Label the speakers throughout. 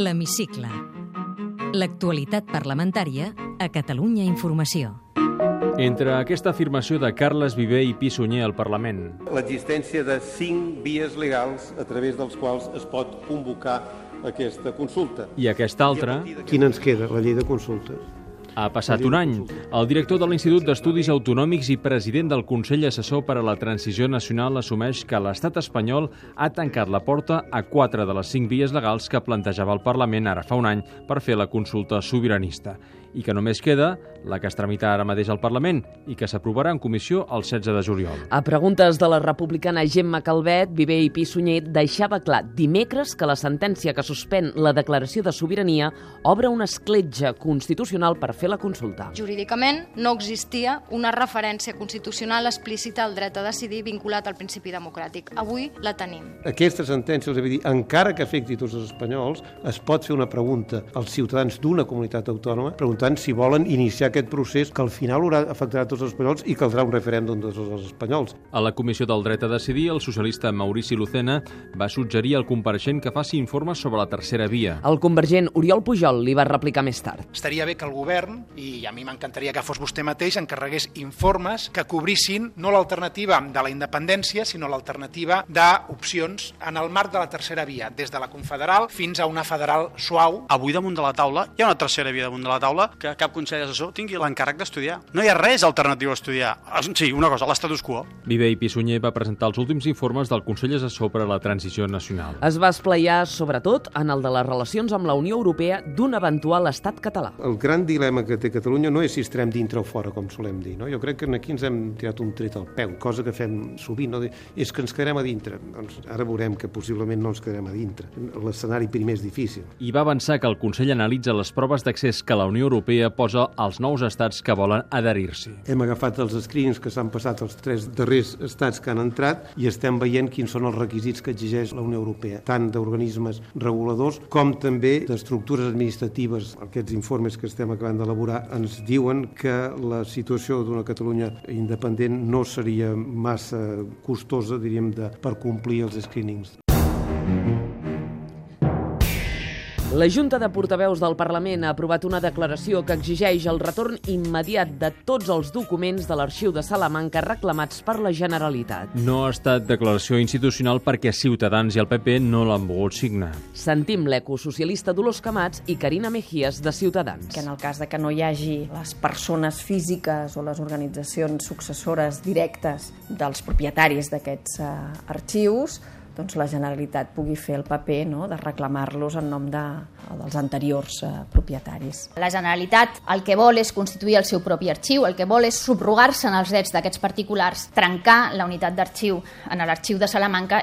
Speaker 1: L'Hemicicle. L'actualitat parlamentària a Catalunya Informació.
Speaker 2: Entre aquesta afirmació de Carles Viver i Pissunyer al Parlament,
Speaker 3: l'existència de cinc vies legals a través dels quals es pot convocar aquesta consulta.
Speaker 2: i aquesta altra,
Speaker 4: Quina ens queda? La llei de consultes.
Speaker 2: ha passat un any. El director de l'Institut d'Estudis Autonòmics i president del Consell Assessor per a la Transició Nacional assumeix que l'estat espanyol ha tancat la porta a quatre de les cinc vies legals que plantejava el Parlament ara fa un any per fer la consulta sobiranista i que només queda la que es tramita ara mateix al Parlament i que s'aprovarà en comissió el 16 de juliol.
Speaker 5: A preguntes de la republicana Gemma Calvet, Viver i Pissunyer deixava clar dimecres que la sentència que suspèn la declaració de sobirania obre una escletja constitucional per fer la consulta.
Speaker 6: Jurídicament no existia una referència constitucional explícita al dret a decidir vinculat al principi democràtic. Avui la tenim.
Speaker 4: Aquesta sentència, us he de dir, encara que afecti tots els espanyols, es pot fer una pregunta als ciutadans d'una comunitat autònoma preguntant si volen iniciar aquest procés que al final haurà afectarà a tots els espanyols i caldrà un referèndum de tots els espanyols.
Speaker 2: A la Comissió del Dret a Decidir, el socialista Maurici Lucena va suggerir al compareixent que faci informes sobre la tercera via.
Speaker 5: El convergent Oriol Pujol li va replicar més tard.
Speaker 7: Estaria bé que el govern, i a mi m'encantaria que fos vostè mateix, encarregués informes que cobrissin no l'alternativa de la independència, sinó l'alternativa d'opcions en el marc de la tercera via, des de la confederal fins a una federal suau.
Speaker 8: Avui damunt de la taula hi ha una tercera via damunt de la taula que cap consell assessor tingui l'encàrrec d'estudiar. No hi ha res alternatiu a estudiar. Ah, Sí, una cosa, l'estatus quo.
Speaker 2: Viver i Pissunyer va presentar els últims informes del Consell Assessor per a la Transició Nacional.
Speaker 5: Es va esplaiar, sobretot, en el de les relacions amb la Unió Europea d'un eventual estat català.
Speaker 4: El gran dilema que té Catalunya no és si estarem dintre o fora, com solem dir. No? Jo crec que aquí ens hem tirat un tret al peu, cosa que fem sovint. No? Dir, És que ens quedarem a dintre. Doncs ara veurem que possiblement no ens quedarem a dintre. L'escenari primer és difícil.
Speaker 2: I va avançar que el Consell analitza les proves d'accés que la Unió Europea posa als nous estats que volen adherir-s'hi.
Speaker 4: Hem agafat els screens que s'han passat als tres darrers estats que han entrat i estem veient quins són els requisits que exigeix la Unió Europea, tant d'organismes reguladors com també d'estructures administratives. Aquests informes que estem acabant d'elaborar ens diuen que la situació d'una Catalunya independent no seria massa costosa, diríem, de, per complir els screenings.
Speaker 5: La Junta de Portaveus del Parlament ha aprovat una declaració que exigeix el retorn immediat de tots els documents de l'Arxiu de Salamanca reclamats per la Generalitat.
Speaker 2: No ha estat declaració institucional perquè Ciutadans i el PP no l'han volgut signar.
Speaker 5: Sentim l'ecosocialista Dolors Camats i Carina Mejías de Ciutadans.
Speaker 9: que en el cas de que no hi hagi les persones físiques o les organitzacions successores directes dels propietaris d'aquests eh, arxius, doncs la Generalitat pugui fer el paper no, de reclamar-los en nom de, dels anteriors eh, propietaris.
Speaker 10: La Generalitat el que vol és constituir el seu propi arxiu, el que vol és subrogar-se en els drets d'aquests particulars, trencar la unitat d'arxiu en l'arxiu de Salamanca.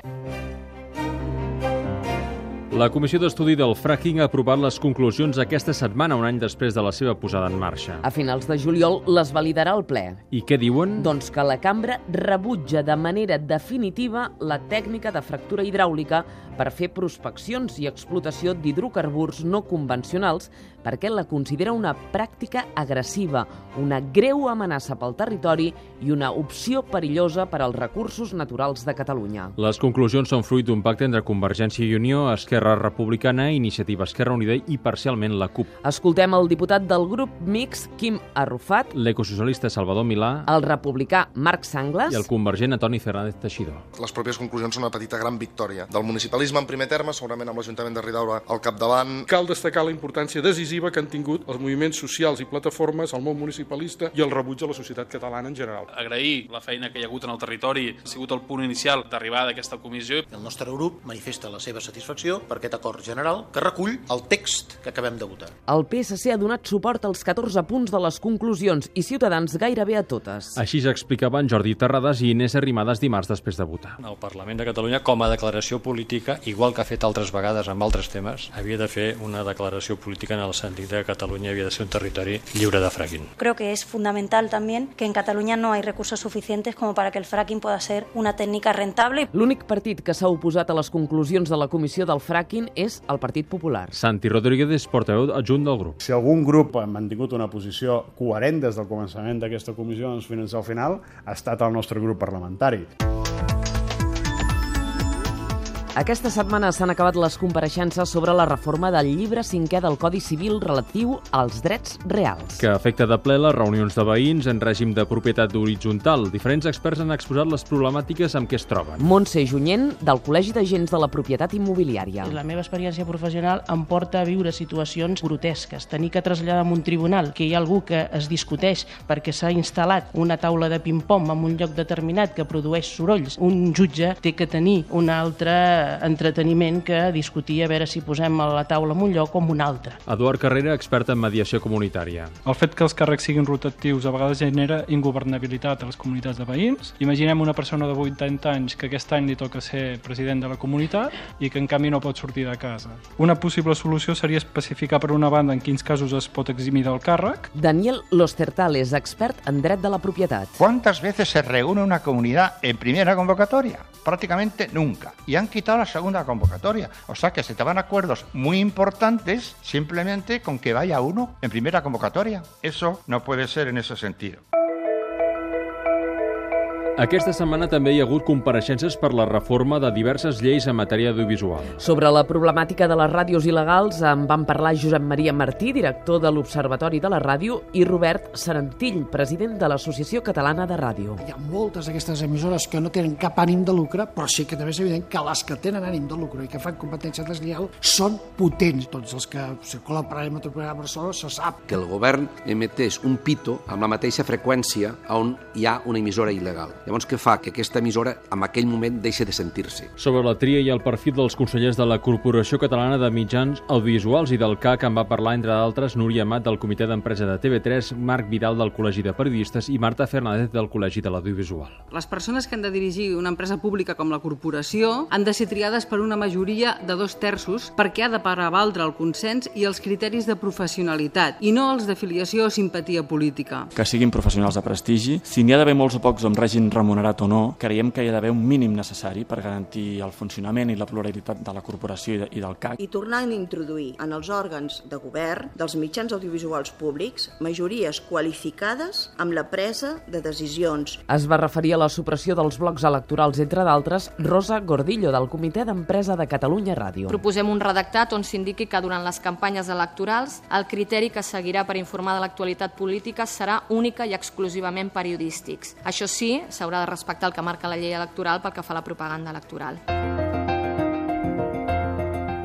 Speaker 2: La Comissió d'Estudi del Fracking ha aprovat les conclusions aquesta setmana, un any després de la seva posada en marxa.
Speaker 5: A finals de juliol les validarà el ple.
Speaker 2: I què diuen?
Speaker 5: Doncs que la cambra rebutja de manera definitiva la tècnica de fractura hidràulica per fer prospeccions i explotació d'hidrocarburs no convencionals perquè la considera una pràctica agressiva, una greu amenaça pel territori i una opció perillosa per als recursos naturals de Catalunya.
Speaker 2: Les conclusions són fruit d'un pacte entre Convergència i Unió, Esquerra Republicana, Iniciativa Esquerra Unida i parcialment la CUP.
Speaker 5: Escoltem el diputat del grup mix, Quim Arrufat,
Speaker 2: L'ecosocialista Salvador Milà
Speaker 5: el republicà Marc
Speaker 2: i
Speaker 5: Sangles...
Speaker 2: el convergent Antoni Fernández Teixidor.
Speaker 11: les pròpies conclusions són una petita gran victòria del municipalisme en primer terme, segurament amb l'Ajuntament de Ridaura al capdavant,
Speaker 12: Cal destacar la importància decisiva que han tingut els moviments socials i plataformes, el món municipalista i el rebuig a la societat catalana en general.
Speaker 8: Agrair la feina que hi ha hagut en el territori ha sigut el punt inicial d'arribada d'aquesta comissió.
Speaker 7: El nostre grup manifesta la seva satisfacció per aquest acord general que recull el text que acabem de votar.
Speaker 5: El PSC ha donat suport als 14 punts de les conclusions i Ciutadans gairebé a totes.
Speaker 2: Així s'explicaven Jordi Terrades i Inés Arrimadas dimarts després de votar.
Speaker 8: El Parlament de Catalunya, com a declaració política, igual que ha fet altres vegades amb altres temes, havia de fer una declaració política en el sentit de que Catalunya havia de ser un territori lliure de fracking.
Speaker 9: Creo que es fundamental también que en Cataluña no hay recursos suficientes como para que el fracking pueda ser una técnica rentable.
Speaker 5: L'únic partit que s'ha oposat a les conclusions de la comissió del fracking és el Partit Popular.
Speaker 2: Santi Rodríguez, portaveu adjunt del grup.
Speaker 8: Si algun grup ha mantingut una posició coherent des del començament d'aquesta comissió fins al final, ha estat el nostre grup parlamentari.
Speaker 5: Aquesta setmana s'han acabat les compareixences sobre la reforma del llibre cinquè del Codi Civil relatiu als drets reals.
Speaker 2: que afecta de ple les reunions de veïns en règim de propietat horitzontal. Diferents experts han exposat les problemàtiques amb què es troben.
Speaker 5: Montse Junyent, del Col·legi d'Agents de la Propietat Immobiliària.
Speaker 13: La meva experiència professional em porta a viure situacions grotesques. Tenir que traslladar a un tribunal que hi ha algú que es discuteix perquè s'ha instal·lat una taula de ping-pong en un lloc determinat que produeix sorolls. Un jutge té que tenir un altre entreteniment que discutir a veure si posem la taula en un lloc o en un altre.
Speaker 2: Eduard Carrera, expert en mediació comunitària.
Speaker 14: El fet que els càrrecs siguin rotatius a vegades genera ingovernabilitat a les comunitats de veïns. Imaginem una persona de 80 anys que aquest any li toca ser president de la comunitat i que en canvi no pot sortir de casa. Una possible solució seria especificar per una banda en quins casos es pot eximir del càrrec.
Speaker 5: Daniel Lostertal és expert en dret de la propietat.
Speaker 15: ¿Cuántas veces se reúne una comunidad en primera convocatoria? Prácticamente nunca. Y han quitado la segunda convocatoria. O sea que se te van acuerdos muy importantes simplemente con que vaya uno en primera convocatoria. Eso no puede ser en ese sentido.
Speaker 2: Aquesta setmana també hi ha hagut compareixences per la reforma de diverses lleis en matèria audiovisual.
Speaker 5: Sobre la problemàtica de les ràdios il·legals en van parlar Josep Maria Martí, director de l'Observatori de la Ràdio, i Robert Sarantill, president de l'Associació Catalana de Ràdio.
Speaker 16: Hi ha moltes d'aquestes emissores que no tenen cap ànim de lucre, però sí que també és evident que les que tenen ànim de lucre i que fan competència deslleial són potents. Tots els que circulen per l'àrea metropolitana de Barcelona se sap.
Speaker 17: que el govern emetés un pito amb la mateixa freqüència on hi ha una emissora il·legal. Llavors, què fa? Que aquesta emissora en aquell moment deixa de sentir-se.
Speaker 2: Sobre la tria i el perfil dels consellers de la Corporació Catalana de Mitjans Audiovisuals i del CAC en va parlar, entre d'altres, Núria Amat del Comitè d'Empresa de TV3, Marc Vidal del Col·legi de Periodistes i Marta Fernández del Col·legi de l'Audiovisual.
Speaker 18: Les persones que han de dirigir una empresa pública com la corporació han de ser triades per una majoria de dos terços perquè ha de prevaldre el consens i els criteris de professionalitat i no els d'afiliació o simpatia política.
Speaker 19: que siguin professionals de prestigi. Si n'hi ha d'haver molts o pocs amb règim remunerat o no, creiem que hi ha d'haver un mínim necessari per garantir el funcionament i la pluralitat de la corporació i de- i del CAC.
Speaker 20: i tornant a introduir en els òrgans de govern dels mitjans audiovisuals públics majories qualificades amb la presa de decisions
Speaker 5: Es va referir a la supressió dels blocs electorals, entre d'altres, Rosa Gordillo, del Comitè d'Empresa de Catalunya Ràdio.
Speaker 21: Proposem un redactat on s'indiqui que durant les campanyes electorals el criteri que seguirà per informar de l'actualitat política serà única i exclusivament periodístics. Això sí, s'haurà de respectar el que marca la llei electoral pel que fa a la propaganda electoral.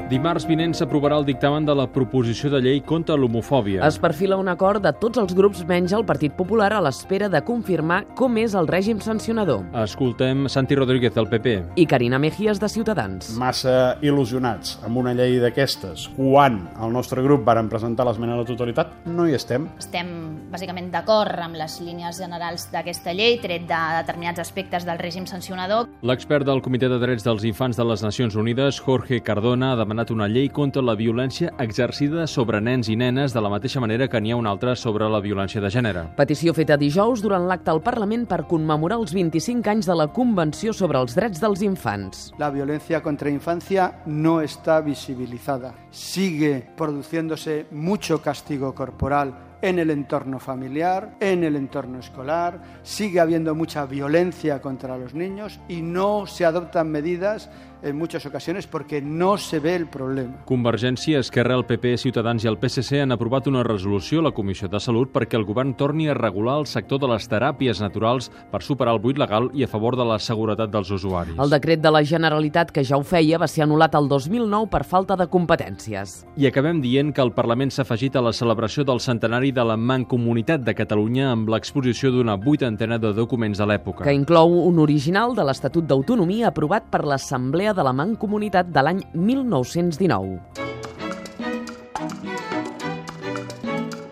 Speaker 2: Dimarts vinent s'aprovarà el dictamen de la proposició de llei contra l'homofòbia.
Speaker 5: Es perfila un acord de tots els grups menys el Partit Popular a l'espera de confirmar com és el règim sancionador.
Speaker 2: Escoltem Santi Rodríguez del PP.
Speaker 5: I Carina Mejías, de Ciutadans.
Speaker 22: massa il·lusionats amb una llei d'aquestes quan el nostre grup varen presentar l'esmena a la totalitat, no hi estem.
Speaker 10: Estem bàsicament d'acord amb les línies generals d'aquesta llei, tret de determinats aspectes del règim sancionador.
Speaker 2: L'expert del Comitè de Drets dels Infants de les Nacions Unides, Jorge Cardona, ha demanat una llei contra la violència exercida sobre nens i nenes de la mateixa manera que n'hi ha una altra sobre la violència de gènere.
Speaker 5: Petició feta dijous durant l'acte al Parlament per commemorar els 25 anys de la Convenció sobre els Drets dels Infants.
Speaker 23: La violencia contra infancia no está visibilizada. Sigue produciéndose mucho castigo corporal en el entorno familiar, en el entorno escolar, sigue habiendo mucha violencia contra los niños y no se adoptan medidas en muchas ocasiones porque no se ve el problema.
Speaker 2: Convergència, Esquerra, el PP, Ciutadans i el PSC han aprovat una resolució a la Comissió de Salut perquè el govern torni a regular el sector de les teràpies naturals per superar el buit legal i a favor de la seguretat dels usuaris.
Speaker 5: El decret de la Generalitat, que ja ho feia, va ser anul·lat el 2009 per falta de competències.
Speaker 2: I acabem dient que el Parlament s'ha afegit a la celebració del centenari de la Mancomunitat de Catalunya amb l'exposició d'una vuitantena de documents de l'època.
Speaker 5: que inclou un original de l'Estatut d'Autonomia aprovat per l'Assemblea de la Mancomunitat de l'any 1919.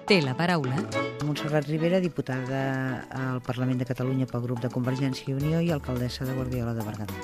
Speaker 1: Té la paraula
Speaker 24: Montserrat Rivera, diputada al Parlament de Catalunya pel grup de Convergència i Unió i alcaldessa de Guardiola de Berguedà.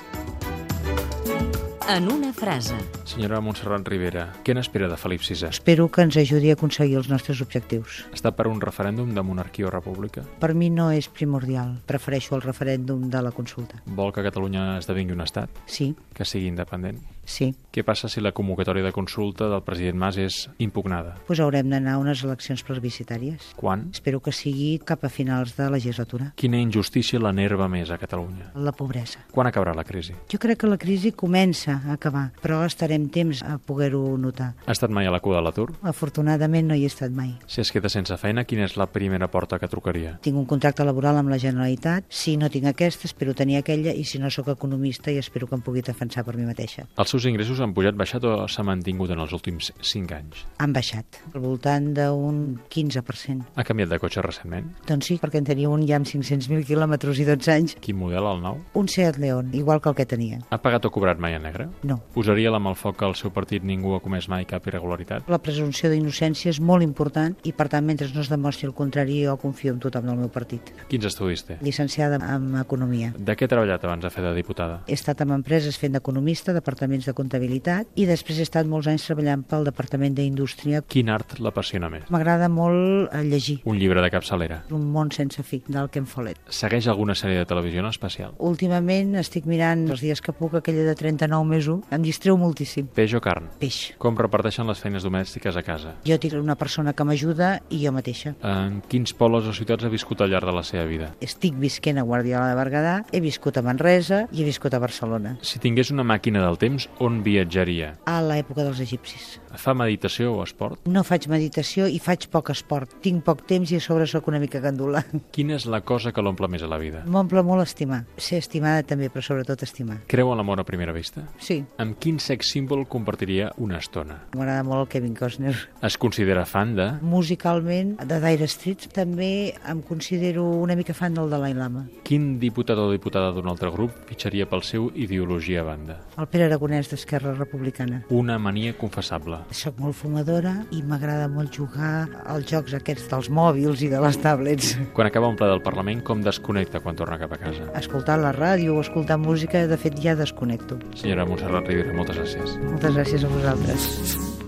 Speaker 1: en una frase.
Speaker 25: Senyora Montserrat Rivera, què n'espera de Felip VI?
Speaker 24: Espero que ens ajudi a aconseguir els nostres objectius.
Speaker 25: Està per un referèndum de monarquia o república?
Speaker 24: Per mi no és primordial. Prefereixo el referèndum de la consulta.
Speaker 25: Vol que Catalunya esdevingui un estat?
Speaker 24: Sí.
Speaker 25: Que sigui independent?
Speaker 24: Sí.
Speaker 2: Què passa si la convocatòria de consulta del president Mas és impugnada?
Speaker 24: Pues haurem d'anar a unes eleccions plebiscitàries.
Speaker 2: Quan?
Speaker 24: Espero que sigui cap a finals de la legislatura.
Speaker 2: Quina injustícia l'enerva més a Catalunya?
Speaker 24: La pobresa.
Speaker 2: Quan acabarà la crisi?
Speaker 24: Jo crec que la crisi comença a acabar, però estarem temps a poder-ho notar.
Speaker 2: Ha estat mai a la cua de l'atur?
Speaker 24: Afortunadament no hi he estat mai.
Speaker 2: Si es queda sense feina, quina és la primera porta que trucaria?
Speaker 24: Tinc un contracte laboral amb la Generalitat. Si no tinc aquesta, espero tenir aquella i si no sóc economista i espero que em pugui defensar per mi mateixa.
Speaker 2: Els seus ingressos han pujat, baixat o s'ha mantingut en els últims 5 anys?
Speaker 24: Han baixat, al voltant d'un 15%.
Speaker 2: Ha canviat de cotxe recentment?
Speaker 24: Doncs sí, perquè en tenia un ja amb 500.000 quilòmetres i 12 anys.
Speaker 2: Quin model, el nou?
Speaker 24: Un Seat León, igual que el que tenia.
Speaker 2: Ha pagat o cobrat mai a negre?
Speaker 24: No.
Speaker 2: Posaria la mà al foc que al seu partit ningú ha comès mai cap irregularitat?
Speaker 24: La presumpció d'innocència és molt important i, per tant, mentre no es demostri el contrari, jo confio en tothom del meu partit.
Speaker 2: Quins estudis té?
Speaker 24: Llicenciada en Economia.
Speaker 2: De què ha treballat abans de fer de diputada?
Speaker 24: He estat en empreses fent d'economista, departaments de comptabilitat i després he estat molts anys treballant pel Departament d'Indústria.
Speaker 2: Quin art l'apassiona més?
Speaker 24: M'agrada molt eh, llegir.
Speaker 2: Un llibre de capçalera.
Speaker 24: Un món sense fi, del Ken Follett.
Speaker 2: Segueix alguna sèrie de televisió en especial?
Speaker 24: Últimament estic mirant els dies que puc aquella de 39 més 1. Em distreu moltíssim.
Speaker 2: Peix o carn?
Speaker 24: Peix.
Speaker 2: Com reparteixen les feines domèstiques a casa?
Speaker 24: Jo tinc una persona que m'ajuda i jo mateixa.
Speaker 2: En quins pobles o ciutats ha viscut al llarg de la seva vida?
Speaker 24: Estic visquent a Guardiola de Berguedà, he viscut a Manresa i he viscut a Barcelona.
Speaker 2: Si tingués una màquina del temps, on viatjaria?
Speaker 24: A l'època dels egipcis.
Speaker 2: Fa meditació o esport?
Speaker 24: No faig meditació i faig poc esport. Tinc poc temps i a sobre sóc una mica gandula.
Speaker 2: Quina és la cosa que l'omple més a la vida?
Speaker 24: M'omple molt estimar. Ser estimada també, però sobretot estimar.
Speaker 2: Creu en l'amor a primera vista?
Speaker 24: Sí.
Speaker 2: Amb quin sex símbol compartiria una estona?
Speaker 24: M'agrada molt el Kevin Costner.
Speaker 2: Es considera fan de...
Speaker 24: Musicalment, de Dire Straits, també em considero una mica fan del Dalai Lama.
Speaker 2: Quin diputat o diputada d'un altre grup fitxaria pel seu ideologia a banda?
Speaker 24: El Pere Aragonès d'Esquerra Republicana.
Speaker 2: Una mania confessable.
Speaker 24: Soc molt fumadora i m'agrada molt jugar als jocs aquests dels mòbils i de les tablets.
Speaker 2: Quan acaba un ple del Parlament, com desconnecta quan torna cap a casa?
Speaker 24: Escoltar la ràdio o escoltar música, de fet, ja desconnecto.
Speaker 2: Senyora Montserrat Ribera, moltes gràcies.
Speaker 24: Moltes gràcies a vosaltres.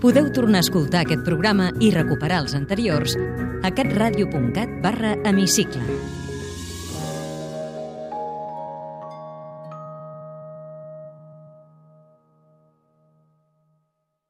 Speaker 1: Podeu tornar a escoltar aquest programa i recuperar els anteriors a catradio.cat barra hemicicle.